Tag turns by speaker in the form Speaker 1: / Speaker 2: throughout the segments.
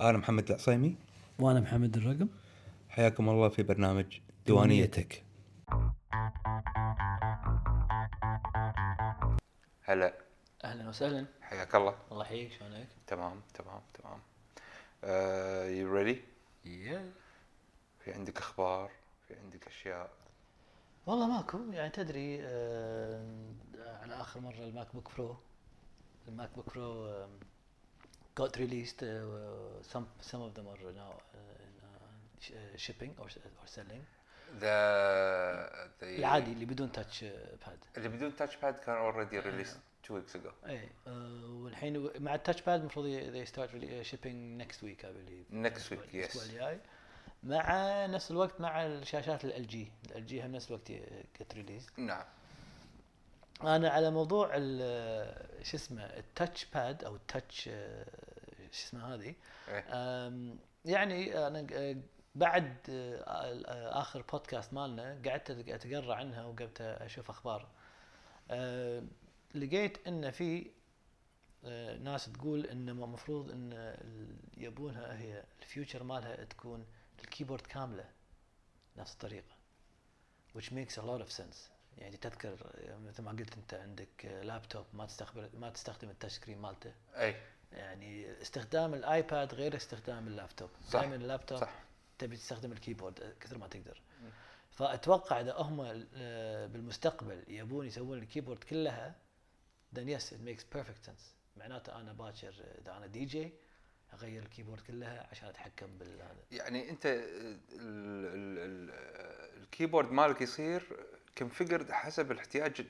Speaker 1: انا محمد العصيمي
Speaker 2: وانا محمد الرقم
Speaker 1: حياكم الله في برنامج ديوانيتك هلا
Speaker 2: اهلا وسهلا
Speaker 1: حياك الله
Speaker 2: الله يحييك شلونك؟
Speaker 1: تمام تمام تمام يو ريدي في عندك اخبار في عندك اشياء
Speaker 2: والله ماكو يعني تدري آه على اخر مره الماك بوك برو الماك بوك برو آم، got released uh, some some of them are now uh, in, uh, sh- uh, shipping or, or selling
Speaker 1: ذا
Speaker 2: العادي اللي بدون تاتش باد
Speaker 1: اللي بدون تاتش باد كان اوريدي ريليس 2 ويكس اجو
Speaker 2: اي آه، والحين مع التاتش باد المفروض ي- they start really uh, shipping next week I believe
Speaker 1: Next week,
Speaker 2: الاسبوع
Speaker 1: yes.
Speaker 2: الجاي مع نفس الوقت مع الشاشات ال جي ال جي هم نفس الوقت جت ريليز
Speaker 1: نعم
Speaker 2: انا على موضوع ال- شو اسمه التاتش باد او التاتش آه، شو اسمه هذه
Speaker 1: إيه.
Speaker 2: أم، يعني انا ق- بعد آه، ال- آه، اخر بودكاست مالنا قعدت أت- اتقرا عنها وقعدت اشوف اخبار أه، لقيت ان في آه، ناس تقول ان المفروض ان ال- يبونها هي الفيوتشر مالها تكون الكيبورد كامله نفس الطريقه which makes a lot of sense يعني تذكر مثل ما قلت انت عندك لابتوب ما تستخدم ما تستخدم التاتش سكرين مالته
Speaker 1: اي
Speaker 2: يعني استخدام الايباد غير استخدام اللابتوب
Speaker 1: صح،
Speaker 2: دائما اللابتوب
Speaker 1: صح.
Speaker 2: تبي تستخدم الكيبورد آه، كثر ما تقدر فاتوقع اذا هم آه، بالمستقبل يبون يسوون الكيبورد كلها then yes it makes perfect sense معناته انا باكر اذا انا دي جي اغير الكيبورد كلها عشان اتحكم بال هذا.
Speaker 1: يعني انت ال- ال- ال- الكيبورد مالك يصير كونفيجرد حسب الاحتياج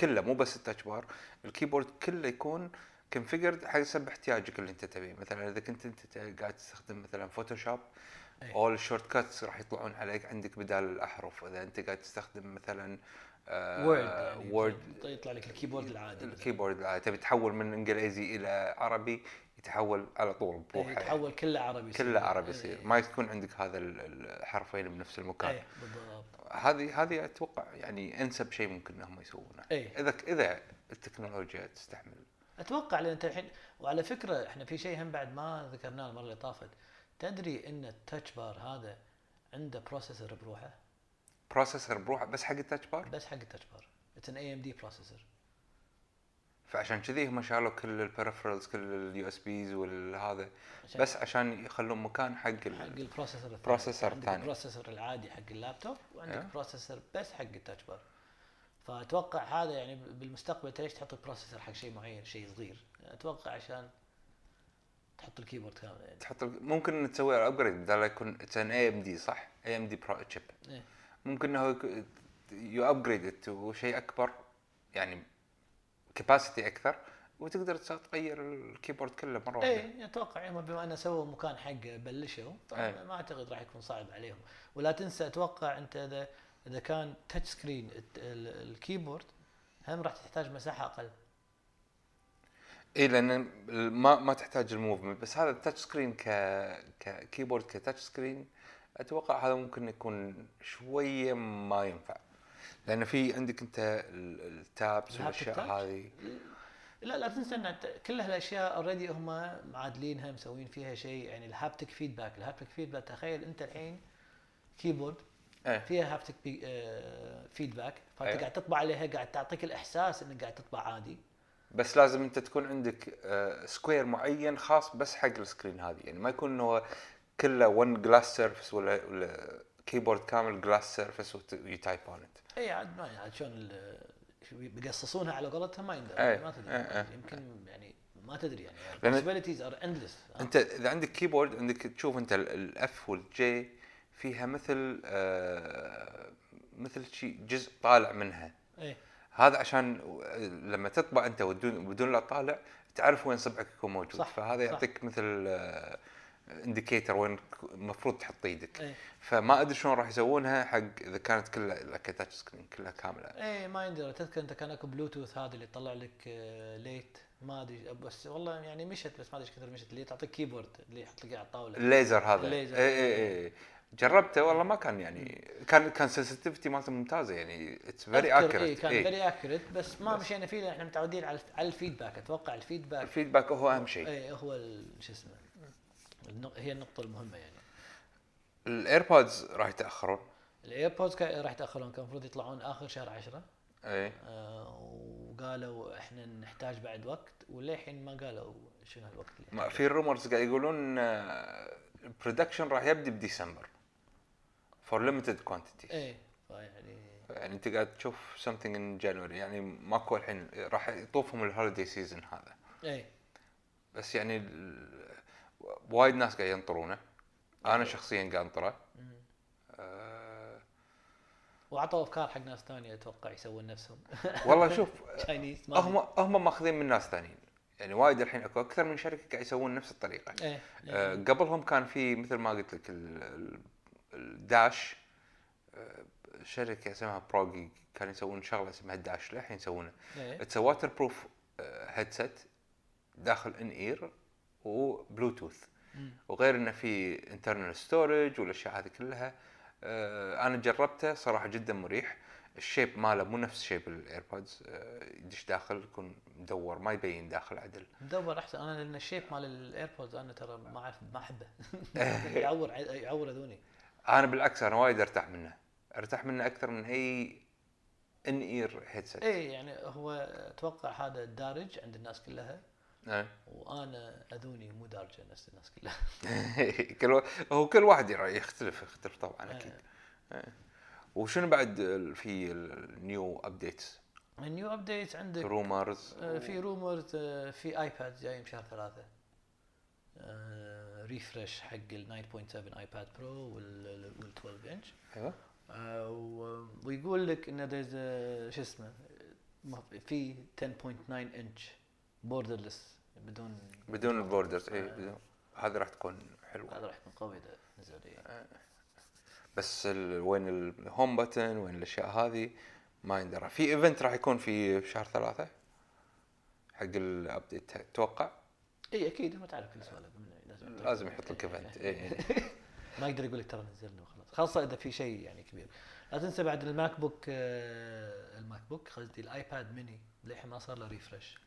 Speaker 1: كله مو بس التاتش بار الكيبورد كله يكون كونفيجرد حسب احتياجك اللي انت تبيه مثلا اذا كنت انت ت- قاعد تستخدم مثلا فوتوشوب
Speaker 2: أي.
Speaker 1: اول الشورت كاتس راح يطلعون عليك عندك بدال الاحرف اذا انت قاعد تستخدم مثلا آه،
Speaker 2: Word يعني
Speaker 1: وورد
Speaker 2: يطلع لك الكيبورد العادي
Speaker 1: الكيبورد العادي تبي تحول من انجليزي الى عربي يتحول على طول بروحه يعني.
Speaker 2: إيه، يتحول كله عربي إيه،
Speaker 1: كله عربي يصير ما يكون عندك هذا ال- الحرفين بنفس المكان
Speaker 2: اي إيه، بالضبط
Speaker 1: هذه هذه اتوقع يعني انسب شيء ممكن انهم يسوونه
Speaker 2: إيه.
Speaker 1: اذا اذا التكنولوجيا تستحمل
Speaker 2: اتوقع لان انت الحين وعلى فكره احنا في شيء هم بعد ما ذكرناه المره اللي طافت تدري ان التاتش بار هذا عنده بروسيسور بروحه
Speaker 1: بروسيسور بروحه بس حق التاتش بار
Speaker 2: بس حق التاتش بار اتس ان اي ام دي بروسيسور
Speaker 1: فعشان كذي هم شالوا كل البريفرالز كل اليو اس بيز والهذا
Speaker 2: عشان-
Speaker 1: بس عشان يخلون مكان حق ال-
Speaker 2: حق البروسيسور الثاني
Speaker 1: بروسيسور
Speaker 2: عندك
Speaker 1: ثاني.
Speaker 2: البروسيسور العادي حق اللابتوب وعندك
Speaker 1: أيوه.
Speaker 2: بروسيسور بس حق التاتش بار فاتوقع هذا يعني بالمستقبل انت ليش تحط البروسيسور حق شيء معين شيء صغير اتوكع عشان تحط الكيبورد كامل يعني
Speaker 1: تحط ال- ممكن تسوي له ابجريد بدال يكون اتس ان اي ام دي صح؟ اي ام دي برو تشيب
Speaker 2: إيه.
Speaker 1: ممكن انه يو ابجريد تو شيء اكبر يعني كباسيتي اكثر وتقدر تس- تغير الكيبورد كله مره واحده
Speaker 2: اي اتوقع هم إيه، يعني بما انه سووا مكان حق بلشوا طبعا
Speaker 1: إيه.
Speaker 2: ما اعتقد راح يكون صعب عليهم ولا تنسى اتوقع انت اذا اذا كان تاتش سكرين الت- ال- الكيبورد هم راح تحتاج مساحه اقل
Speaker 1: اي لان ال- إيه، ما ما تحتاج الموفمنت بس هذا التاتش سكرين ك ككيبورد كتاتش سكرين اتوقع هذا ممكن يكون شويه ما ينفع لان في عندك انت ال- التابس
Speaker 2: لابتوب
Speaker 1: والاشياء
Speaker 2: تاتش؟
Speaker 1: هذه
Speaker 2: لا لا تنسى ان ت- كل هالاشياء اوريدي هم معادلينها مسوين فيها شيء يعني الهابتك فيدباك الهابتك فيدباك تخيل انت الحين كيبورد
Speaker 1: إيه.
Speaker 2: فيها هابتك فيدباك فانت
Speaker 1: أيوه.
Speaker 2: قاعد تطبع عليها قاعد تعطيك الاحساس انك قاعد تطبع عادي
Speaker 1: بس لازم انت تكون عندك سكوير معين خاص بس حق السكرين هذه يعني ما يكون انه هو كله ون جلاس سيرفس ولا ولا كيبورد كامل جلاس سيرفس ويتايب اون ات
Speaker 2: اي عاد إيه، يعني ما عاد شلون ال- شو بيقصصونها على قولتهم ما يندرى
Speaker 1: إيه.
Speaker 2: ما تدري
Speaker 1: إيه، إيه.
Speaker 2: يمكن يعني ما تدري يعني
Speaker 1: لأن-
Speaker 2: possibilities are endless
Speaker 1: انت اذا عندك كيبورد عندك تشوف انت الاف والجي فيها مثل آه، مثل شيء جزء طالع منها
Speaker 2: اي
Speaker 1: هذا عشان آه، لما تطبع انت بدون بدون لا تطالع تعرف وين صبعك يكون موجود
Speaker 2: صح،
Speaker 1: فهذا
Speaker 2: صح.
Speaker 1: يعطيك مثل انديكيتر وين المفروض تحط ايدك
Speaker 2: اي
Speaker 1: فما ادري شلون راح يسوونها حق اذا كانت كلها كتاتش سكرين كلها كامله
Speaker 2: اي إيه، ما يندرى تذكر انت كان اكو بلوتوث هذا اللي يطلع لك آه، ليت ما ادري بس والله يعني مشت بس ما ادري إيش كثر مشت اللي تعطيك كيبورد اللي يحط لك إياه على الطاوله
Speaker 1: الليزر هذا
Speaker 2: الليزر.
Speaker 1: اي اي اي جربته والله ما كان يعني كان كان سنسitivityي مالته ممتازه يعني اتس فيري
Speaker 2: أذكر إيه،
Speaker 1: اكيوريت
Speaker 2: كان فيري اكيوريت بس ما مشينا فيه لأن احنا متعودين على على الفيدباك اتوقع الفيدباك إيه،
Speaker 1: الفيدباك هو اهم شيء
Speaker 2: اي هو ال- شو اسمه النق- هي النقطه المهمه يعني
Speaker 1: الايربودز راح يتاخرون
Speaker 2: الايربودز كا- راح يتاخرون كان المفروض يطلعون اخر شهر 10
Speaker 1: اي
Speaker 2: آه، وقالوا احنا نحتاج بعد وقت وللحين ما قالوا شنو الوقت يعني. اللي
Speaker 1: ما في رومرز قاعد يقولون البرودكشن راح يبدي بديسمبر فور ليمتد كوانتيتيز
Speaker 2: ايه فيعني
Speaker 1: يعني انت قاعد تشوف سمثينج ان جانوري يعني ماكو الحين راح يطوفهم الهوليدي سيزون هذا
Speaker 2: ايه
Speaker 1: بس يعني ال- وايد ناس قاعد ينطرونه انا شخصيا قاعد انطره
Speaker 2: مم.
Speaker 1: أه
Speaker 2: واعطوا افكار حق ناس ثانيه اتوقع يسوون نفسهم
Speaker 1: والله شوف
Speaker 2: تشاينيز ما
Speaker 1: هم هم ماخذين من ناس ثانيين يعني وايد الحين اكو اكثر من شركه قاعد يسوون نفس الطريقه
Speaker 2: ايه
Speaker 1: آه،
Speaker 2: إيه.
Speaker 1: قبلهم كان في مثل ما قلت لك ال- ال- الداش آه، شركه اسمها بروجي كانوا يسوون شغله اسمها الداش للحين يسوونها
Speaker 2: ايه
Speaker 1: اتس واتر بروف هيدسيت آه، داخل ان اير وبلوتوث
Speaker 2: مم.
Speaker 1: وغير انه في انترنال ستورج والاشياء هذه كلها آه، انا جربته صراحه جدا مريح الشيب ماله مو نفس شيب الايربودز آه، يدش داخل يكون مدور ما يبين داخل عدل
Speaker 2: مدور احسن انا لان الشيب مال الايربودز انا ترى ما اعرف ما احبه يعور ع- يعور اذوني
Speaker 1: انا بالعكس انا وايد ارتاح منه ارتاح منه اكثر من اي ان اير هيدسيت
Speaker 2: ايه يعني هو اتوقع هذا دارج عند الناس كلها
Speaker 1: آه.
Speaker 2: وانا اذوني مو دارجه نفس الناس كلها
Speaker 1: كل وا- هو كل واحد يرا- يختلف يختلف طبعا اكيد
Speaker 2: إيه.
Speaker 1: إيه. وشنو بعد ال- في النيو ابديتس
Speaker 2: النيو ابديت عندك
Speaker 1: رومرز
Speaker 2: آه، في رومرز آه، في ايباد جاي بشهر ثلاثة ريفرش حق ال 9.7 ايباد برو وال 12 انش
Speaker 1: ايوه
Speaker 2: آه، و- ويقول لك انه there's a- شو اسمه ما في- في 10.9 انش بوردرلس بدون
Speaker 1: بدون البوردرز اي
Speaker 2: آه.
Speaker 1: بدون هذه راح تكون حلوه
Speaker 2: هذا راح يكون قوي اذا نزل إيه.
Speaker 1: بس ال- وين الهوم بتن وين الاشياء هذه ما يندرى في ايفنت راح يكون في شهر ثلاثة حق الابديت اتوقع
Speaker 2: اي اكيد إيه، ما تعرف كل سؤال لازم
Speaker 1: لازم يحط لك ايفنت إيه.
Speaker 2: ما يقدر يقول لك ترى نزلنا وخلاص خاصه اذا في شيء يعني كبير لا تنسى بعد الماك بوك آه، الماك بوك قصدي الايباد ميني للحين ما صار له ريفرش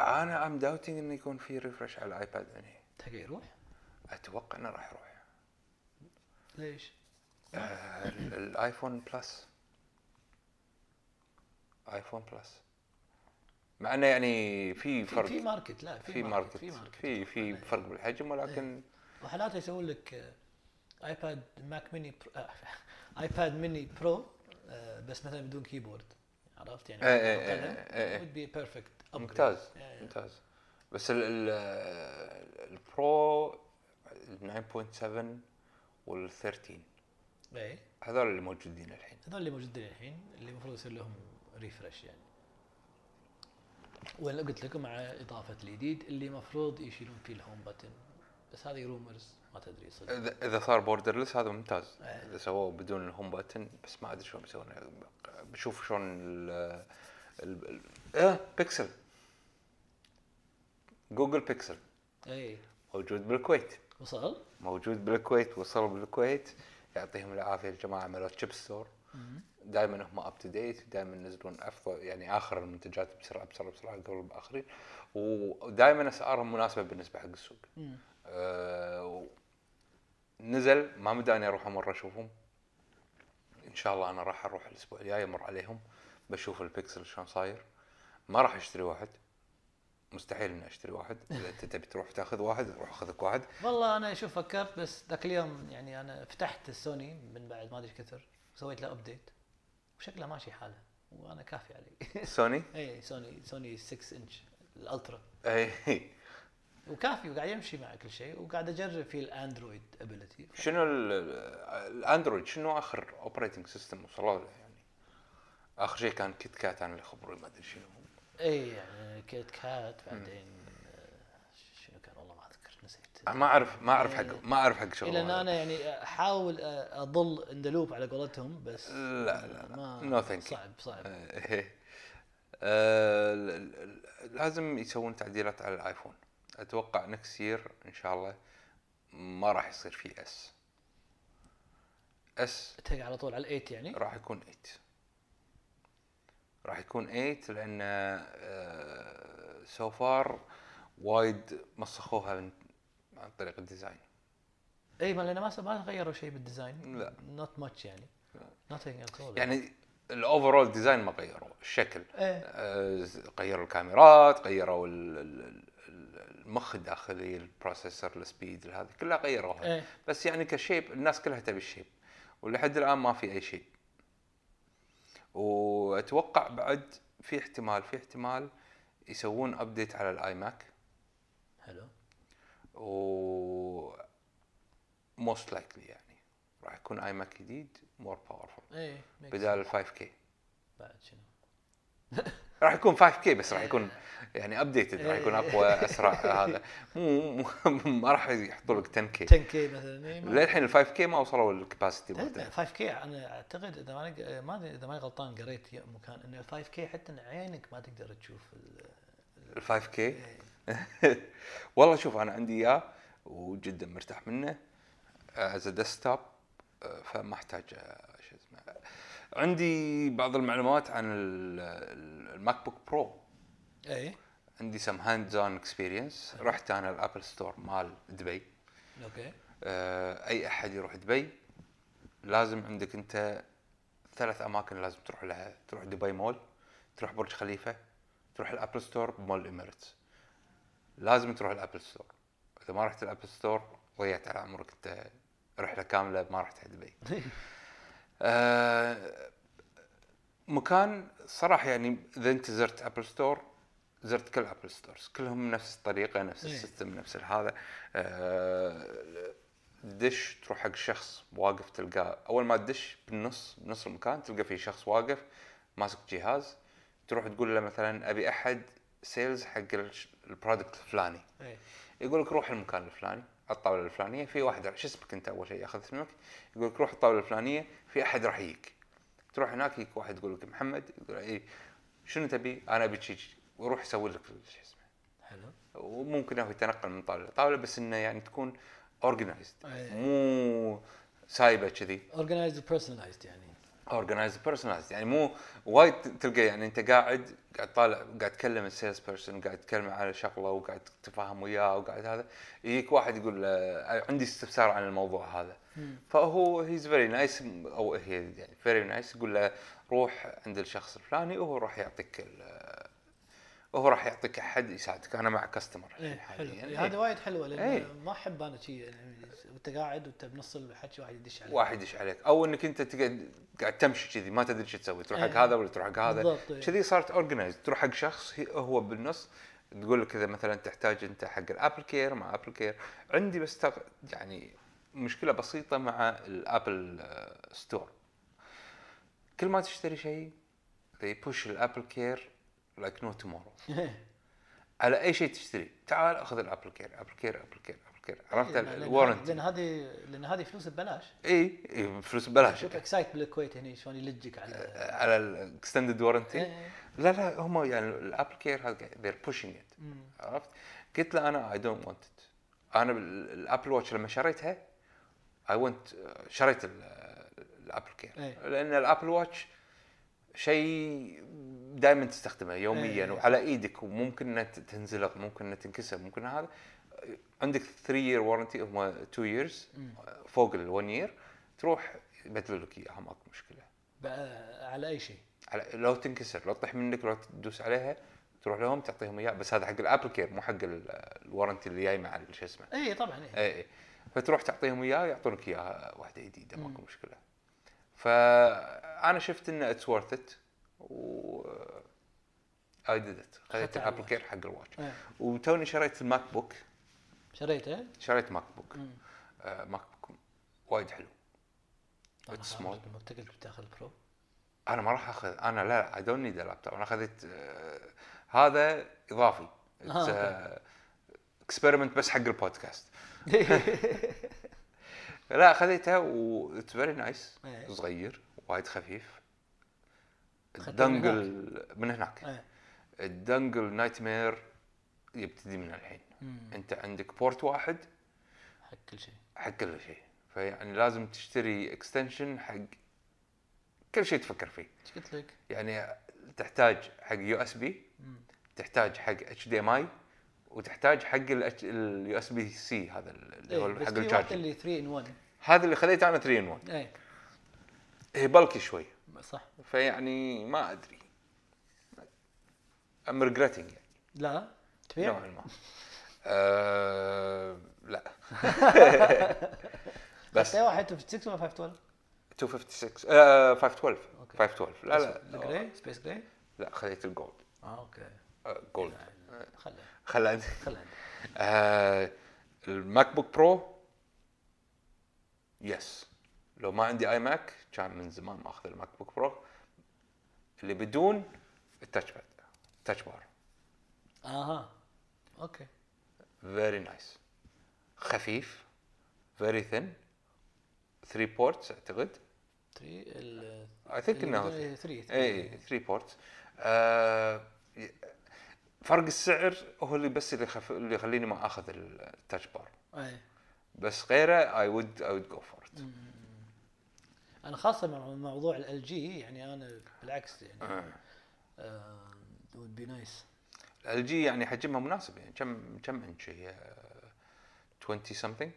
Speaker 1: انا ام داوتنج انه يكون في ريفرش على الايباد مني
Speaker 2: تلقى يروح
Speaker 1: اتوقع انه راح يروح
Speaker 2: ليش؟
Speaker 1: آه، ال- الايفون بلس ايفون بلس مع انه يعني في
Speaker 2: في, في
Speaker 1: فرق
Speaker 2: ماركت لا في,
Speaker 1: في ماركت
Speaker 2: في ماركت
Speaker 1: في إيه. في فرق بالحجم ولكن
Speaker 2: وحالات يسوون لك آه، ايباد ماك ميني برو آه، ايباد ميني برو آه، بس مثلا بدون كيبورد عرفت يعني
Speaker 1: إيه، إيه، إيه، إيه، إيه.
Speaker 2: would be perfect upgrade.
Speaker 1: ممتاز
Speaker 2: إيه.
Speaker 1: ممتاز بس ال ال البرو 9.7 وال 13
Speaker 2: ايه
Speaker 1: هذول اللي موجودين الحين
Speaker 2: هذول اللي موجودين الحين اللي المفروض يصير لهم ريفرش يعني ولا قلت لكم مع اضافه الجديد اللي المفروض يشيلون فيه الهوم بتن بس هذه رومرز ما تدري صدق
Speaker 1: اذا اذا صار بوردرلس هذا ممتاز
Speaker 2: إيه.
Speaker 1: اذا سووه بدون الهوم باتن بس ما ادري شلون بيسوون بشوف شلون ال ال ال- اه بيكسل جوجل بيكسل
Speaker 2: اي
Speaker 1: موجود بالكويت
Speaker 2: إيه. وصل؟
Speaker 1: موجود بالكويت وصل بالكويت يعطيهم العافيه الجماعه عملوا تشيب ستور دائما هم اب تو ديت دائما ينزلون افضل يعني اخر المنتجات بسرعه بسرعه بسرعه قبل الاخرين ودائما اسعارهم مناسبه بالنسبه حق السوق.
Speaker 2: مم.
Speaker 1: آه، و- نزل ما مداني اروح مره اشوفهم ان شاء الله انا راح اروح الاسبوع الجاي امر عليهم بشوف البكسل شلون صاير ما راح اشتري واحد مستحيل اني اشتري واحد اذا انت تبي تروح تاخذ واحد روح خذك واحد
Speaker 2: والله انا شوف فكرت بس ذاك اليوم يعني انا فتحت السوني من بعد ما ادري كثر وسويت له ابديت وشكله ماشي حاله وانا كافي علي
Speaker 1: سوني
Speaker 2: اي سوني سوني 6 انش الالترا
Speaker 1: اي
Speaker 2: وكافي وقاعد يمشي مع كل شيء وقاعد اجرب فيه الاندرويد ابيلتي
Speaker 1: شنو ال- ال- الاندرويد شنو اخر اوبريتنج سيستم وصلوا له يعني اخر شيء كان كيت كات انا اللي خبري ما ادري شنو
Speaker 2: اي يعني كيت كات بعدين آه، شنو كان والله ما اذكر نسيت
Speaker 1: ما اعرف ما اعرف حق ما اعرف حق شغل
Speaker 2: الى ان انا يعني احاول آه، اضل اندلوب على قولتهم بس
Speaker 1: لا لا
Speaker 2: ما
Speaker 1: No thank you.
Speaker 2: صعب صعب
Speaker 1: إيه. آه، ال- ال- ال- لازم يسوون تعديلات على الايفون اتوقع نكس يير ان شاء الله ما راح يصير فيه اس اس
Speaker 2: تلقى على طول على الايت يعني
Speaker 1: راح يكون 8 راح يكون آه، 8 لان سو فار وايد مسخوها من عن طريق الديزاين
Speaker 2: اي إيه، ما لان ما س- ما غيروا شيء بالديزاين
Speaker 1: لا.
Speaker 2: نوت ماتش يعني nothing at all
Speaker 1: يعني الاوفرول ديزاين ما غيروا الشكل
Speaker 2: ايه
Speaker 1: آه، غيروا الكاميرات غيروا ال- ال- ال- المخ الداخلي البروسيسور السبيد هذه كلها غيروها
Speaker 2: ايه
Speaker 1: بس يعني كشيب الناس كلها تبي الشيب ولحد الان ما في اي شيء واتوقع بعد في احتمال في احتمال يسوون ابديت على الاي ماك
Speaker 2: حلو
Speaker 1: و موست لايكلي يعني راح يكون اي ماك جديد مور باورفul
Speaker 2: ايه makes
Speaker 1: بدال ال 5K
Speaker 2: sense. بعد شنو
Speaker 1: راح يكون 5K بس راح يكون يعني ابديتد راح يكون اقوى اسرع هذا مو مو- ما راح يحطوا لك 10K
Speaker 2: 10 كي مثلا إيه، ما-
Speaker 1: للحين ال 5K ما وصلوا للكباسيتي
Speaker 2: تدري
Speaker 1: مالته
Speaker 2: 5 كي انا اعتقد اذا ما أنا- ما ادري اذا ماني غلطان قريت ي- مكان انه 5 كي حتى ان عينك ما تقدر تشوف ال-
Speaker 1: ال 5K
Speaker 2: إيه.
Speaker 1: والله شوف انا عندي اياه وجدا مرتاح منه آه، از ديسكتوب فما احتاج آه، شو اسمه عندي بعض المعلومات عن ال- ال- الماك بوك برو
Speaker 2: اي
Speaker 1: عندي سم هاند اون اكسبيرينس رحت انا الابل ستور مال دبي
Speaker 2: اوكي
Speaker 1: آه، اي احد يروح دبي لازم عندك انت ثلاث اماكن لازم تروح لها تروح دبي مول تروح برج خليفه تروح الابل ستور بمول الاميريتس لازم تروح الابل ستور اذا ما رحت الابل ستور ضيعت على عمرك انت رحله كامله ما رحت على دبي
Speaker 2: إيه.
Speaker 1: آه، مكان صراحه يعني اذا انت زرت ابل ستور زرت كل ابل ستورز كلهم نفس الطريقه نفس
Speaker 2: إيه.
Speaker 1: السيستم نفس الهذا آه، دش تروح حق شخص واقف تلقاه اول ما تدش بالنص بنص المكان تلقى في شخص واقف ماسك جهاز تروح تقول له مثلا ابي احد سيلز حق الش- البرودكت الفلاني
Speaker 2: اي
Speaker 1: يقول لك روح المكان الفلاني على الطاوله الفلانيه في واحد شو اسمك انت اول شيء ياخذ اسمك يقول لك روح الطاوله الفلانيه في احد راح يجيك تروح هناك يجيك واحد يقول لك محمد يقول اي شنو تبي؟ انا ابي شي- شي ويروح يسوي لك شو اسمه
Speaker 2: حلو
Speaker 1: وممكن هو يتنقل من طاوله لطاوله بس انه يعني تكون اورجنايزد
Speaker 2: أي.
Speaker 1: مو سايبه كذي
Speaker 2: اورجنايزد بيرسونلايزد يعني
Speaker 1: اورجنايزد بيرسونالز يعني مو وايد تلقى يعني انت قاعد قاعد طالع قاعد تكلم السيلز بيرسون قاعد تكلم على شغله وقاعد تتفاهم وياه وقاعد هذا يجيك واحد يقول له عندي استفسار عن الموضوع هذا فهو هيز فيري نايس او هي يعني فيري نايس يقول له روح عند الشخص الفلاني وهو راح يعطيك ال- وهو راح يعطيك احد يساعدك انا مع كاستمر
Speaker 2: ايه حلو
Speaker 1: حاليا.
Speaker 2: إيه، هذا
Speaker 1: إيه.
Speaker 2: وايد حلوه
Speaker 1: إيه.
Speaker 2: لان ما احب انا شيء يعني وانت قاعد وانت بنص الحكي واحد يدش عليك
Speaker 1: واحد يش عليك او انك انت تقعد قاعد تمشي كذي ما تدري شو تسوي تروح حق
Speaker 2: إيه.
Speaker 1: هذا ولا تروح حق هذا
Speaker 2: بالضبط إيه.
Speaker 1: كذي صارت اورجنايز تروح حق شخص هي- هو بالنص تقول لك اذا مثلا تحتاج انت حق الابل كير مع ابل كير عندي بس تق... يعني مشكله بسيطه مع الابل آه، ستور كل ما تشتري شيء they push الابل كير like no tomorrow
Speaker 2: إيه.
Speaker 1: على اي شيء تشتري تعال اخذ الابل كير ابل كير ابل كير ابل كير عرفت
Speaker 2: إيه، لأن-
Speaker 1: الورنت
Speaker 2: لان هذه لان هذه فلوس ببلاش
Speaker 1: اي إي، إيه، فلوس ببلاش إيه.
Speaker 2: شوف اكسايت بالكويت هني شلون يلجك على
Speaker 1: على الاكستندد ورنتي
Speaker 2: إيه.
Speaker 1: لا لا هم يعني الابل كير هذا they're pushing it
Speaker 2: مم.
Speaker 1: عرفت؟ قلت له انا اي دونت ونت ات انا بال- الابل واتش لما شريتها اي ونت شريت ال- الابل كير
Speaker 2: إيه.
Speaker 1: لان الابل واتش شيء دائما تستخدمه
Speaker 2: إيه.
Speaker 1: يوميا وعلى ايدك وممكن انها ت- تنزلق ممكن انها تنكسر ممكن هذا عندك 3 يير ورنتي هم 2 ييرز
Speaker 2: مم.
Speaker 1: فوق ال 1 يير تروح يبدلوا لك اياها ماكو مشكله
Speaker 2: بقى- على اي شيء
Speaker 1: على- لو تنكسر لو تطيح منك لو تدوس عليها تروح لهم تعطيهم اياه بس هذا حق الابل كير مو حق ال- الورنتي اللي جاي مع ال- شو اسمه
Speaker 2: اي طبعا اي
Speaker 1: اي اي فتروح تعطيهم اياه يعطونك اياها واحده جديده
Speaker 2: مم.
Speaker 1: ماكو مشكله فانا شفت انه اتس ورث ات و اي ديد ات خذيت
Speaker 2: على
Speaker 1: الابل
Speaker 2: الواتش.
Speaker 1: كير حق الواتش
Speaker 2: إيه.
Speaker 1: وتوني شريت الماك بوك
Speaker 2: شريته
Speaker 1: شريت ماك بوك
Speaker 2: مم.
Speaker 1: آه ماك بوك وايد حلو
Speaker 2: انا
Speaker 1: It's
Speaker 2: خلاص
Speaker 1: small.
Speaker 2: قلت بتاخذ برو
Speaker 1: انا ما راح اخذ انا لا اي دونت نيد لابتوب انا اخذت آه، هذا اضافي
Speaker 2: آه،
Speaker 1: اكسبيرمنت بس حق البودكاست
Speaker 2: إيه.
Speaker 1: لا خذيتها و اتس فيري نايس
Speaker 2: إيه.
Speaker 1: صغير وايد خفيف
Speaker 2: أخذتها من
Speaker 1: الدنجل من هناك
Speaker 2: إيه.
Speaker 1: الدنجل نايت مير يبتدي من الحين
Speaker 2: مم.
Speaker 1: انت عندك بورت واحد
Speaker 2: إيه. حق كل شيء
Speaker 1: حق كل شيء فيعني لازم تشتري اكستنشن حق كل شيء تفكر فيه
Speaker 2: ايش قلت لك؟
Speaker 1: يعني تحتاج حق يو اس بي
Speaker 2: مم.
Speaker 1: تحتاج حق اتش دي ام اي وتحتاج حق اليو اس بي سي هذا اللي
Speaker 2: إيه،
Speaker 1: هو حق
Speaker 2: بس في واحد
Speaker 1: الشارجر
Speaker 2: اللي 3 ان 1
Speaker 1: هذا اللي خذيته انا 3 ان 1
Speaker 2: اي
Speaker 1: هي بلكي شوي
Speaker 2: إيه، صح
Speaker 1: فيعني ما ادري ام ريجريتنج يعني
Speaker 2: لا تبيع
Speaker 1: نوعا ما أه لا
Speaker 2: بس
Speaker 1: بس
Speaker 2: واحد 56 ولا 512
Speaker 1: 256 آه 512
Speaker 2: أوكي.
Speaker 1: 512 لا لا
Speaker 2: الجراي سبيس جراي
Speaker 1: لا خذيت الجولد
Speaker 2: اه اوكي
Speaker 1: آه، جولد
Speaker 2: إيه. خله
Speaker 1: خل عندي
Speaker 2: خله
Speaker 1: آه الماك بوك برو يس لو ما عندي اي ماك كان من زمان ما اخذ الماك بوك برو اللي بدون التاتش باد تاتش بار
Speaker 2: اها اوكي
Speaker 1: فيري نايس خفيف فيري ثن 3 بورتس اعتقد
Speaker 2: 3 ال
Speaker 1: اي ثينك انه
Speaker 2: 3
Speaker 1: اي 3 بورت إيه، آه ي- فرق السعر هو اللي بس اللي خف... اللي يخليني ما اخذ التاتش بار
Speaker 2: اي
Speaker 1: بس غيره اي وود اي وود جو فور ات
Speaker 2: انا خاصه مع موضوع ال جي يعني انا بالعكس يعني
Speaker 1: آه.
Speaker 2: آه، would be nice
Speaker 1: ال جي يعني حجمها مناسب يعني كم كم انش هي آه، 20 something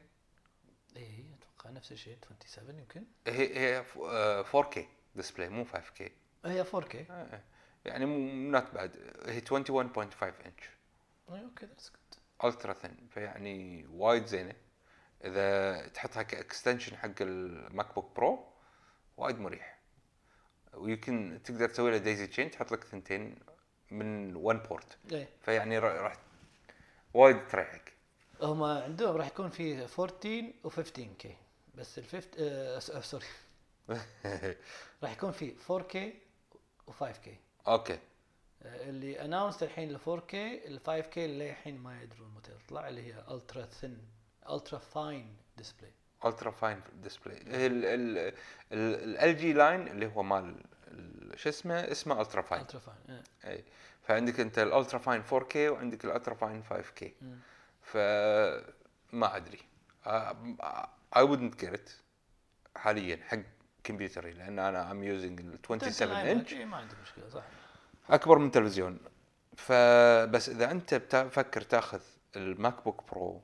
Speaker 2: اي اتوقع إيه، نفس الشيء 27 يمكن
Speaker 1: هي هي ف- آه، 4K ديسبلاي مو 5K
Speaker 2: هي 4K اي
Speaker 1: آه، يعني مو نوت باد هي 21.5 انش
Speaker 2: اوكي ذاتس جود
Speaker 1: الترا ثن فيعني وايد زينه اذا تحطها كاكستنشن حق الماك بوك برو وايد مريح ويمكن تقدر تسوي له دايزي تشين تحط لك ثنتين من ون بورت
Speaker 2: اي
Speaker 1: فيعني را- راح وايد تريحك
Speaker 2: هم عندهم راح يكون في 14 و15 كي بس ال 50 آه، س- آه، سوري راح يكون في 4K و5K
Speaker 1: اوكي
Speaker 2: آه، اللي اناونس الحين ال 4K ال 5K اللي الحين ما يدرون متى يطلع اللي هي الترا ثن الترا فاين ديسبلاي
Speaker 1: الترا فاين ديسبلاي ال جي لاين اللي هو مال ال- شو اسمه اسمه الترا فاين
Speaker 2: الترا فاين
Speaker 1: اي فعندك انت الالترا فاين 4K وعندك الالترا فاين 5K
Speaker 2: آه.
Speaker 1: فما ادري اي آه، wouldn't get it حاليا حق كمبيوتري لان انا ام يوزنج ال 27 انش
Speaker 2: ما عندي مشكله صح
Speaker 1: اكبر من تلفزيون فبس اذا انت بتفكر تاخذ الماك بوك برو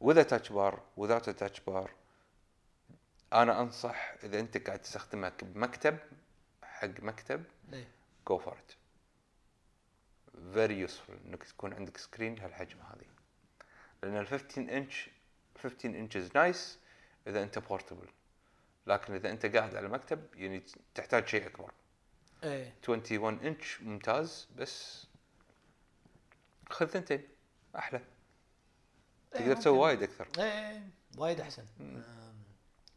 Speaker 1: وذا تاتش بار وذات تاتش بار انا انصح اذا انت قاعد تستخدمها بمكتب حق مكتب
Speaker 2: ليه
Speaker 1: جو فور ات فيري يوسفول انك تكون عندك سكرين هالحجم هذه لان ال 15 انش 15 انشز نايس اذا انت بورتبل لكن اذا انت قاعد على مكتب يعني تحتاج شيء اكبر
Speaker 2: ايه
Speaker 1: 21 انش ممتاز بس خذ ثنتين احلى
Speaker 2: إيه،
Speaker 1: تقدر تسوي وايد اكثر
Speaker 2: ايه وايد احسن أم،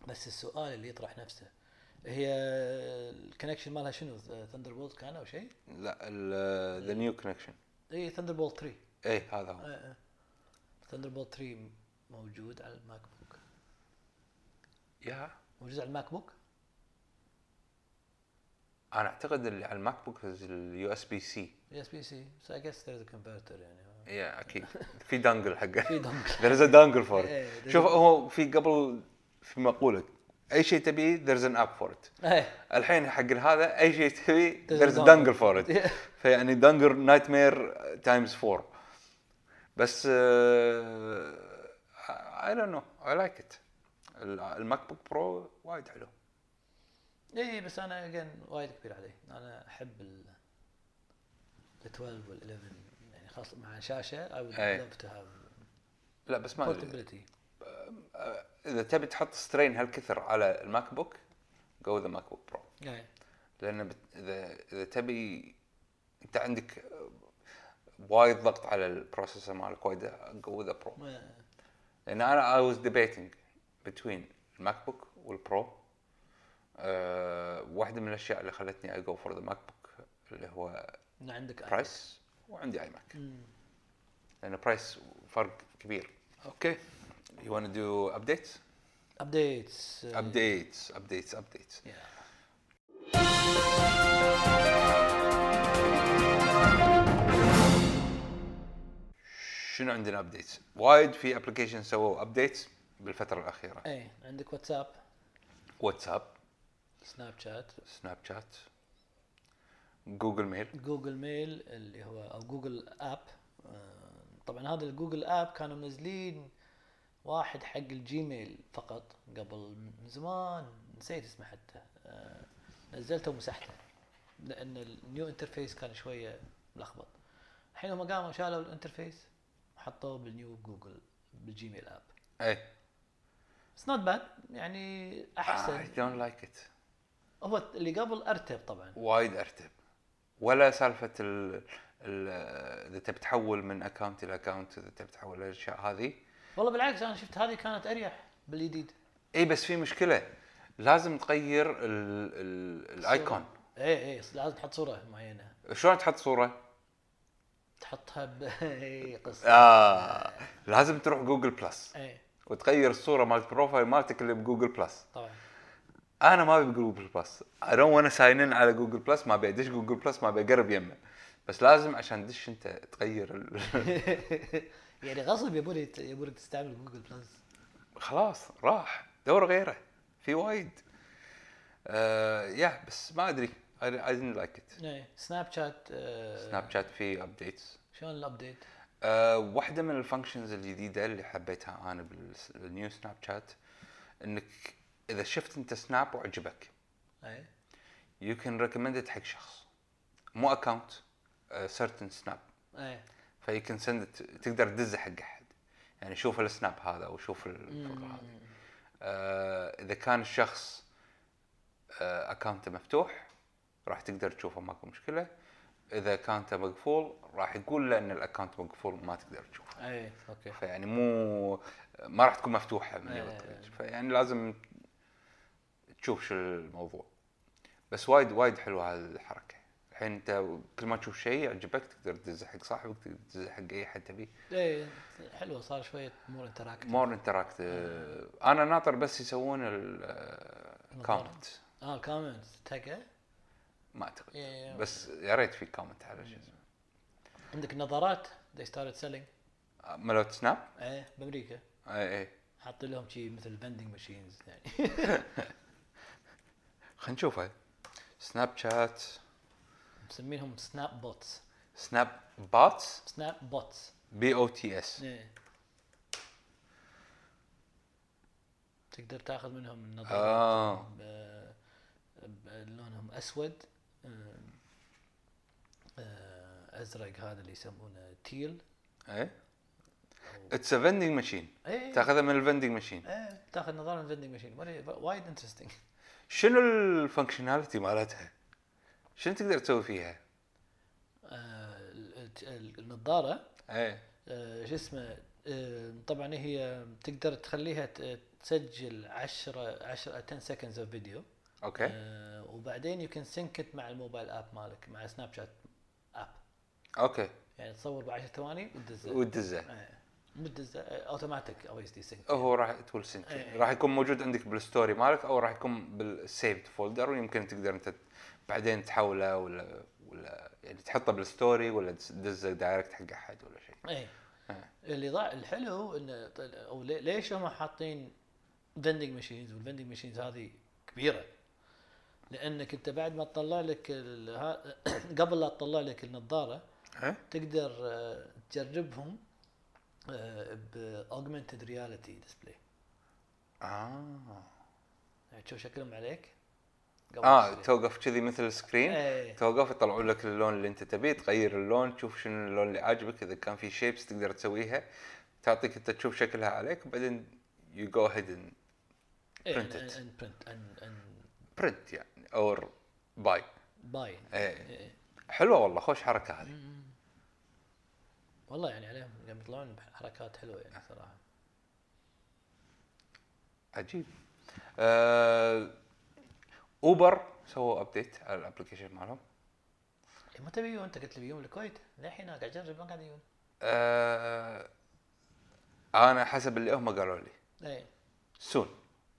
Speaker 2: بس السؤال اللي يطرح نفسه هي الكونكشن مالها شنو ثندر بولت كان او شيء؟
Speaker 1: لا ذا
Speaker 2: إيه.
Speaker 1: نيو كونكشن
Speaker 2: اي ثندر بولت 3
Speaker 1: اي إيه، هذا هو
Speaker 2: آه، ثندر بولت 3 موجود على الماك بوك
Speaker 1: يا
Speaker 2: موجود على الماك بوك؟
Speaker 1: انا اعتقد اللي على الماك بوك اليو اس بي سي
Speaker 2: اس بي سي سو اي جيس ذيرز كونفرتر يعني
Speaker 1: يا اكيد في دانجل حقه
Speaker 2: في دمك
Speaker 1: there is a dangle for
Speaker 2: إيه،
Speaker 1: it
Speaker 2: there's
Speaker 1: شوف
Speaker 2: a-
Speaker 1: هو في قبل في مقوله اي شيء تبيه there's an app for it
Speaker 2: ايه
Speaker 1: الحين حق هذا اي شيء تبيه
Speaker 2: There's a
Speaker 1: there's a
Speaker 2: dangle.
Speaker 1: dangle for it
Speaker 2: Yeah.
Speaker 1: فيعني dangle nightmare times four بس آه، اي دونت نو اي لايك ات الماك بوك برو وايد حلو
Speaker 2: اي إيه، بس انا اجين وايد كبير علي انا احب ال ال 12 وال 11 يعني خاصة مع شاشه اي وود
Speaker 1: إيه.
Speaker 2: لاف تو هاف
Speaker 1: لا بس ما أدري.
Speaker 2: بورتبيلتي
Speaker 1: اذا تبي تحط سترين هالكثر على الماك بوك جو ذا ماك بوك برو
Speaker 2: ايه
Speaker 1: لان بت- اذا اذا تبي انت عندك وايد ضغط على البروسيسور مالك وايد قوي ذا برو
Speaker 2: ما-
Speaker 1: لان انا اي واز ديبيتنج بتوين الماك بوك والبرو أه واحده من الاشياء اللي خلتني اي جو فور ذا ماك بوك اللي هو
Speaker 2: ان عندك
Speaker 1: برايس وعندي اي ماك
Speaker 2: مم.
Speaker 1: لان برايس فرق كبير اوكي يو ونت دو ابديتس
Speaker 2: ابديتس
Speaker 1: آه. ابديتس ابديتس ابديتس شنو عندنا ابديتس؟ وايد في ابلكيشن سووا ابديتس بالفتره الاخيره
Speaker 2: اي إيه، عندك واتساب
Speaker 1: واتساب
Speaker 2: سناب شات
Speaker 1: سناب شات جوجل ميل
Speaker 2: جوجل ميل اللي هو او جوجل اب آه، طبعا هذا الجوجل اب كانوا منزلين واحد حق الجيميل فقط قبل من زمان نسيت اسمه حتى آه، نزلته ومسحته لان النيو انترفيس كان شويه ملخبط الحين هم قاموا شالوا الانترفيس وحطوه بالنيو جوجل بالجيميل اب
Speaker 1: اي
Speaker 2: اتس نوت باد يعني
Speaker 1: اي
Speaker 2: احسن
Speaker 1: دونت لايك ات
Speaker 2: هو اللي قبل ارتب طبعا
Speaker 1: وايد ارتب ولا سالفه ال ال- اذا تبي تحول من اكونت الى اكونت اذا تبي تحول الاشياء هذه
Speaker 2: والله بالعكس انا شفت هذه كانت اريح بالجديد
Speaker 1: اي بس في مشكله لازم تغير ال- ال- الايكون
Speaker 2: اي اي إيه، لازم تحط صوره معينه
Speaker 1: شلون تحط صوره؟
Speaker 2: تحطها ب إيه، إي، قصه
Speaker 1: اه لازم تروح جوجل بلس
Speaker 2: اي
Speaker 1: وتغير الصوره مالت البروفايل مالتك اللي بجوجل بلس
Speaker 2: طبعا
Speaker 1: انا ما ابي جوجل بلس اي دونت وانا ساين ان على جوجل بلس ما بيدش جوجل بلس ما بقرب يمه بس لازم عشان دش انت تغير ال...
Speaker 2: يعني غصب يبون يت- يبونك تستعمل جوجل بلس
Speaker 1: خلاص راح دور غيره في وايد آه يا بس ما ادري I I didn't like it
Speaker 2: اي سناب شات إيه، آه،
Speaker 1: سناب شات في ابديتس
Speaker 2: شلون الابديت؟
Speaker 1: آه واحدة من الفانكشنز الجديدة اللي حبيتها انا بالس- بالنيو سناب شات انك اذا شفت انت سناب وعجبك
Speaker 2: اي
Speaker 1: يو كان ريكومند حق شخص مو آه، اكونت سيرتن سناب
Speaker 2: اي
Speaker 1: فيو كان سند تقدر تدزه حق احد يعني شوف السناب هذا او شوف الفقره هذه آه، اذا كان الشخص آه، اكاونته مفتوح راح تقدر تشوفه ماكو مشكله اذا اكاونته مقفول راح يقول له ان الاكاونت مقفول ما تقدر تشوفه
Speaker 2: اي اوكي
Speaker 1: فيعني مو ما راح تكون مفتوحه من
Speaker 2: إيه.
Speaker 1: يبقى. فيعني لازم تشوف شو الموضوع بس وايد وايد حلوه هالحركه الحين انت كل ما تشوف شيء يعجبك تقدر تدزه حق صاحبك تقدر تدزه حق اي حد تبيه
Speaker 2: اي حلوه إيه، صار شويه مور انتراكت
Speaker 1: مور انتراكت انا ناطر بس يسوون الكومنت
Speaker 2: اه الكومنت تاجا
Speaker 1: ما اعتقد
Speaker 2: إيه.
Speaker 1: بس يا ريت في كومنت على شو اسمه
Speaker 2: عندك نظارات they started selling
Speaker 1: آه، ملوت إيه، سناب
Speaker 2: اي بامريكا
Speaker 1: اي اي
Speaker 2: حاط لهم شيء مثل فندنج ماشينز يعني
Speaker 1: خلينا نشوفه سناب شات
Speaker 2: مسمينهم سناب بوتس
Speaker 1: سناب باتس
Speaker 2: سناب بوتس
Speaker 1: بي او تي اس
Speaker 2: ايه تقدر تاخذ منهم النظارات
Speaker 1: اه
Speaker 2: ب- ب- لونهم اسود آه، آه، ازرق هذا اللي يسمونه تيل
Speaker 1: اي اتس ا فندنج ماشين
Speaker 2: ايه
Speaker 1: تاخذها من الفندنج ماشين
Speaker 2: ايه تاخذ نظاره الفندنج ماشين وايد انترستنج
Speaker 1: شنو الفانكشناليتي مالتها؟ شنو تقدر تسوي فيها؟
Speaker 2: النظاره
Speaker 1: اي
Speaker 2: آه، شو اسمه آه، طبعا هي تقدر تخليها ت- تسجل 10 10 10 سكندز اوف فيديو
Speaker 1: اوكي
Speaker 2: آه، وبعدين يو كان سينكت مع الموبايل اب مالك مع سناب شات اب
Speaker 1: اوكي
Speaker 2: يعني تصور ب 10 ثواني وتدزه
Speaker 1: وتدزه
Speaker 2: آه، مو تدزه اوتوماتيك اوبسلي سينك
Speaker 1: هو راح تول سنك
Speaker 2: إيه.
Speaker 1: راح يكون موجود عندك بالستوري مالك او راح يكون بالسيفد فولدر ويمكن تقدر انت ت- بعدين تحوله ولا ولا يعني تحطه بالستوري ولا تس- تدزه دايركت حق احد ولا شيء
Speaker 2: اي
Speaker 1: آه.
Speaker 2: إيه. اللي ضاع الحلو انه طل- او لي- ليش هم حاطين فندنج ماشينز والفندنج ماشينز هذه كبيره لانك انت بعد ما تطلع لك ال- ها- قبل لا تطلع لك النظاره
Speaker 1: ها؟
Speaker 2: تقدر آه، تجربهم آه، ب augmented reality display
Speaker 1: اه
Speaker 2: يعني تشوف شكلهم عليك قبل
Speaker 1: اه
Speaker 2: تشتري.
Speaker 1: توقف كذي مثل السكرين
Speaker 2: إيه.
Speaker 1: توقف يطلعوا لك اللون اللي انت تبيه تغير اللون تشوف شنو اللون اللي عاجبك اذا كان في شيبس تقدر تسويها تعطيك انت تشوف شكلها عليك وبعدين يو جو هيد
Speaker 2: إيه،
Speaker 1: printed.
Speaker 2: and- and- and print and- and
Speaker 1: برنت يعني اور باي
Speaker 2: buy.
Speaker 1: ايه
Speaker 2: إيه.
Speaker 1: حلوه والله خوش حركه هذه
Speaker 2: والله يعني عليهم قاعد يطلعون بحركات حلوه يعني صراحه
Speaker 1: عجيب آه، اوبر سووا ابديت على الابلكيشن مالهم
Speaker 2: إيه، متى بيجون انت قلت لي بيجون الكويت للحين أنا قاعد اجرب ما قاعد يجون
Speaker 1: آه، انا حسب اللي هم قالوا لي
Speaker 2: ايه
Speaker 1: سون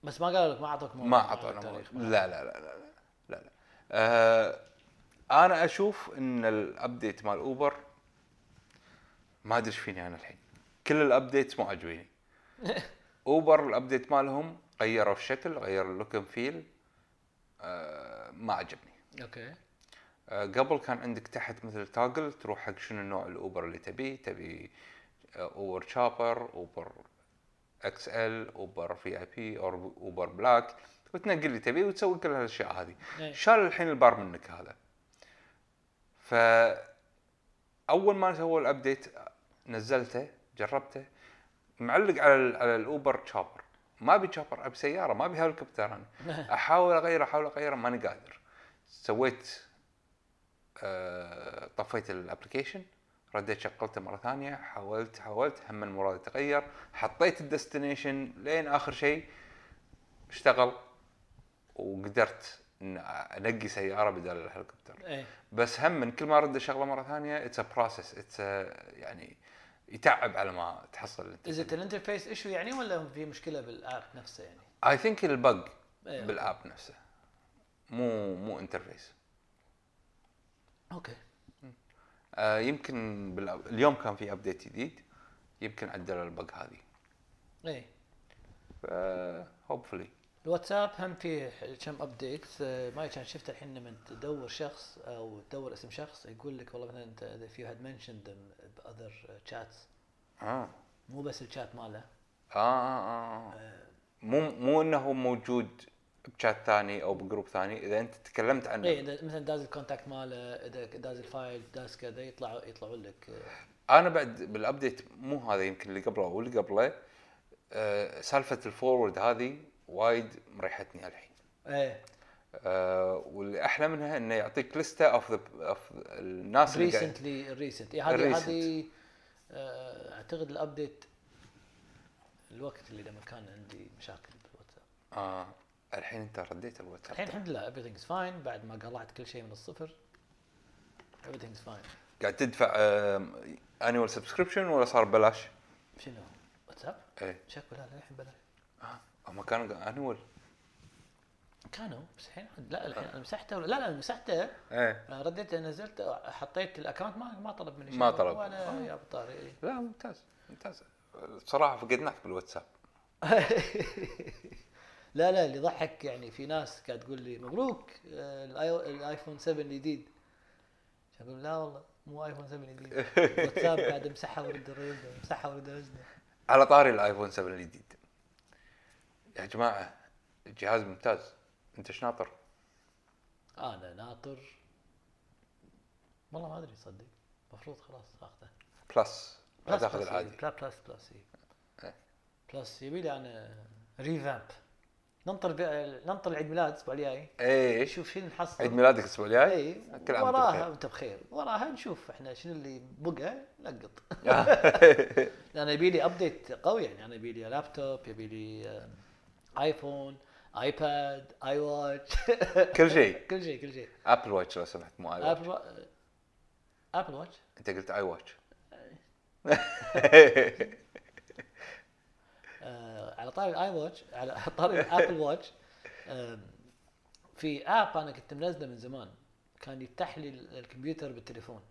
Speaker 2: بس ما قالوا لك ما يعني اعطوك موعد،
Speaker 1: ما اعطونا
Speaker 2: تاريخ،
Speaker 1: موعد. لا لا لا لا لا, لا, لا. آه انا اشوف ان الابديت مال اوبر ما ادري ايش فيني انا الحين كل الابديتس مو عاجبيني اوبر الابديت مالهم غيروا الشكل غيروا اللوك اند فيل آه ما عجبني
Speaker 2: اوكي
Speaker 1: آه، قبل كان عندك تحت مثل تاجل تروح حق شنو نوع الاوبر اللي تبيه تبي اوبر شابر اوبر اكس ال اوبر في اي بي اوبر بلاك وتنقل اللي تبيه وتسوي كل هالاشياء هذه
Speaker 2: إيه.
Speaker 1: شال الحين البار منك هذا ف اول ما سووا الابديت نزلته جربته معلق على ال على الاوبر تشابر ما ابي تشابر ابي سياره ما ابي هليكوبتر انا احاول اغير احاول اغير ماني قادر سويت آه، طفيت الابلكيشن رديت شغلته مره ثانيه حاولت حاولت هم المراد تغير حطيت الديستنيشن لين اخر شيء اشتغل وقدرت ان انقي سياره بدل الهليكوبتر
Speaker 2: ايه
Speaker 1: بس هم من كل ما رد الشغله مره ثانيه اتس بروسس اتس يعني يتعب على ما تحصل
Speaker 2: از
Speaker 1: انت
Speaker 2: ات الانترفيس ايشو يعني ولا في مشكله بالاب نفسه يعني؟
Speaker 1: اي ثينك البق
Speaker 2: إيه.
Speaker 1: بالاب نفسه مو مو انترفيس
Speaker 2: اوكي
Speaker 1: آه يمكن بالأب... اليوم كان في ابديت جديد يمكن عدلوا البق هذه
Speaker 2: ايه
Speaker 1: ف هوبفلي
Speaker 2: الواتساب هم فيه كم ابديت آه، ما كان شفت الحين لما تدور شخص او تدور اسم شخص يقول لك والله مثلا انت اذا في had mentioned them باذر chats
Speaker 1: آه.
Speaker 2: مو بس الشات ماله
Speaker 1: آه, آه, اه مو مو انه موجود بشات ثاني او بجروب ثاني اذا انت تكلمت عنه
Speaker 2: اي اذا مثلا داز الكونتاكت ماله اذا داز الفايل داز كذا يطلع يطلعوا لك آه،
Speaker 1: انا بعد بالابديت مو هذا يمكن اللي قبله واللي قبله آه سالفه الفورورد هذه وايد مريحتني الحين
Speaker 2: ايه
Speaker 1: آه واللي احلى منها انه يعطيك لسته اوف اوف الناس اللي قاعد-
Speaker 2: ريسنتلي ريسنت إيه، هذه
Speaker 1: Recent.
Speaker 2: هذه آه، اعتقد الابديت الوقت اللي لما كان عندي مشاكل بالواتساب
Speaker 1: آه الحين انت رديت الواتساب
Speaker 2: الحين الحمد لله everything is fine بعد ما قلعت كل شيء من الصفر everything is fine
Speaker 1: قاعد تدفع انيوال سبسكريبشن ولا صار ببلاش؟
Speaker 2: شنو واتساب؟
Speaker 1: ايه
Speaker 2: شكو لا لا الحين بلاش
Speaker 1: آه هم كانوا انيوال
Speaker 2: كانوا بس الحين عاد- لا الحين انا مسحته ولا- لا لا أنا مسحته
Speaker 1: ايه
Speaker 2: آه، رديت نزلت آه، حطيت الاكونت ما ما طلب مني شيء
Speaker 1: ما طلب.
Speaker 2: ولا يا بطاري إيه.
Speaker 1: لا ممتاز ممتاز بصراحه فقدناك بالواتساب
Speaker 2: لا لا اللي ضحك يعني في ناس قاعد تقول لي مبروك آه، الآي- الايفون 7 الجديد اقول لا والله مو ايفون 7 جديد واتساب قاعد امسحها وارد ارده امسحها وارد ارده
Speaker 1: على طاري الايفون 7 الجديد يا جماعه الجهاز ممتاز انت ايش ناطر؟
Speaker 2: انا ناطر والله ما ادري صدق المفروض خلاص اخذه
Speaker 1: بلس لا
Speaker 2: بلس
Speaker 1: تاخذ
Speaker 2: بلس
Speaker 1: العادي
Speaker 2: إيه، بلا بلس بلس إيه.
Speaker 1: إيه.
Speaker 2: بلس يبي لي انا ريفامب ننطر بي... ننطر عيد ميلاد الاسبوع الجاي
Speaker 1: ايه
Speaker 2: نشوف شنو نحصل
Speaker 1: عيد ميلادك الاسبوع الجاي؟
Speaker 2: اي
Speaker 1: كل عام وأنت
Speaker 2: إيه.
Speaker 1: بخير.
Speaker 2: وراها وانت بخير وراها نشوف احنا شنو اللي بقى نلقط انا يبي لي ابديت قوي يعني انا يبي لي لابتوب يبي لي آه، ايفون ايباد اي واتش
Speaker 1: كل شيء
Speaker 2: كل شيء كل شيء آه،
Speaker 1: ابل واتش لو سمحت مو اي واتش
Speaker 2: ابل وا- ابل واتش
Speaker 1: انت قلت اي واتش
Speaker 2: آه، على طاري الاي واتش على طاري الابل واتش آم، في اب انا كنت منزله من زمان كان يفتح لي ال- الكمبيوتر بالتليفون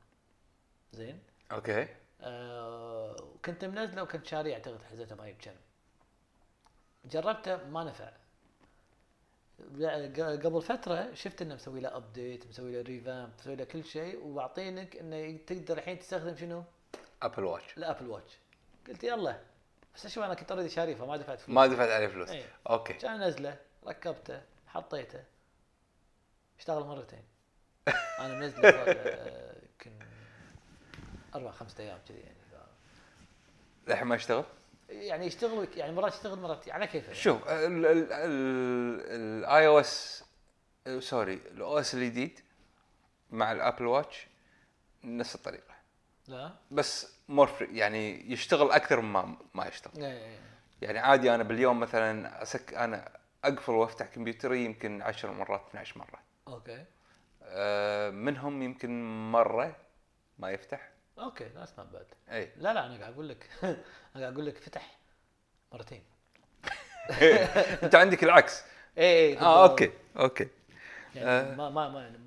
Speaker 2: زين
Speaker 1: اوكي
Speaker 2: آه، وكنت منزله وكنت شاريه اعتقد حزتها ما بكم جربته ما نفع لا، ق- قبل فتره شفت انه مسوي له ابديت مسوي له ريفامب مسوي له كل شيء وعاطينك انه تقدر الحين تستخدم شنو؟
Speaker 1: ابل واتش
Speaker 2: الابل واتش قلت يلا بس شو انا كنت اوريدي شاريه فما دفعت فلوس
Speaker 1: ما دفعت عليه فلوس
Speaker 2: إيه.
Speaker 1: اوكي
Speaker 2: كان نزله ركبته حطيته اشتغل مرتين انا منزله صار، آه، يمكن اربع خمسة ايام كذي يعني
Speaker 1: للحين ما يشتغل
Speaker 2: يعني يشتغل يعني مرات يشتغل مرات على كيفه يعني.
Speaker 1: شوف الاي او اس سوري الاو اس الجديد مع الابل واتش نفس الطريقه
Speaker 2: لا
Speaker 1: بس مور فري يعني يشتغل اكثر مما ما يشتغل
Speaker 2: إيه، إيه، إيه.
Speaker 1: يعني عادي انا باليوم مثلا اسك انا اقفل وافتح كمبيوتري يمكن 10 مرات 12 مره
Speaker 2: اوكي
Speaker 1: آه، منهم يمكن مره ما يفتح إيه.
Speaker 2: اوكي ذاتس نوت باد
Speaker 1: اي
Speaker 2: لا لا انا قاعد اقول لك انا قاعد اقول لك فتح مرتين
Speaker 1: انت عندك العكس
Speaker 2: اي اي
Speaker 1: اه اوكي اوكي
Speaker 2: إيه، يعني ما ما ما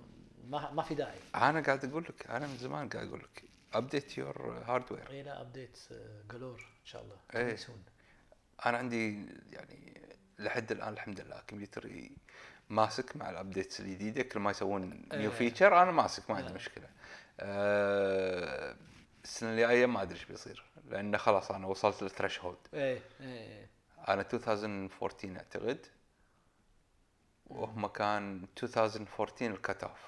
Speaker 2: ما, ما في داعي
Speaker 1: انا قاعد اقول لك انا من زمان قاعد اقول لك ابديت يور هاردوير
Speaker 2: اي لا ابديتس جلور ان آه، شاء الله
Speaker 1: إيه.
Speaker 2: soon.
Speaker 1: انا عندي يعني لحد الان الحمد لله كمبيوتري ماسك مع الابديتس الجديده كل ما يسوون نيو
Speaker 2: إيه.
Speaker 1: فيتشر انا ماسك ما عندي
Speaker 2: إيه.
Speaker 1: مشكله آه، السنه اللي جايه ما ادري ايش بيصير لانه خلاص انا وصلت للثريش هولد
Speaker 2: ايه ايه
Speaker 1: انا 2014 اعتقد
Speaker 2: إيه.
Speaker 1: وهم كان 2014 الكت اوف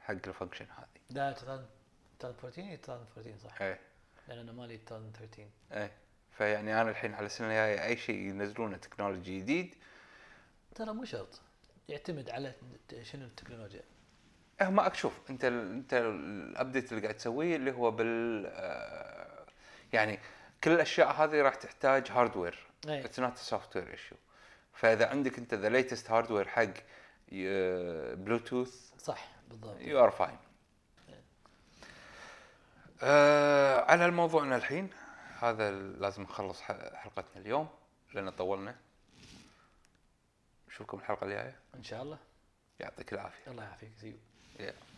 Speaker 1: حق الفانكشن هذه
Speaker 2: لا 2014 هي 2014 صح
Speaker 1: ايه
Speaker 2: لان انا مالي 2013
Speaker 1: ايه فيعني انا الحين على السنه الجايه اي شيء ينزلونه تكنولوجي جديد
Speaker 2: ترى مو شرط يعتمد على ت- شنو التكنولوجيا
Speaker 1: هم شوف انت ال انت الابديت اللي قاعد تسويه اللي هو بال آه، يعني كل الاشياء هذه راح تحتاج هاردوير
Speaker 2: أي.
Speaker 1: اتس نوت سوفت وير ايشو فاذا عندك انت ذا ليتست هاردوير حق آه، ي- بلوتوث
Speaker 2: صح بالضبط
Speaker 1: يو ار فاين آه على موضوعنا الحين هذا ال- لازم نخلص ح- حلقتنا اليوم لان طولنا نشوفكم الحلقه الجايه
Speaker 2: ان شاء الله
Speaker 1: يعطيك العافيه
Speaker 2: الله يعافيك زيو
Speaker 1: Yeah.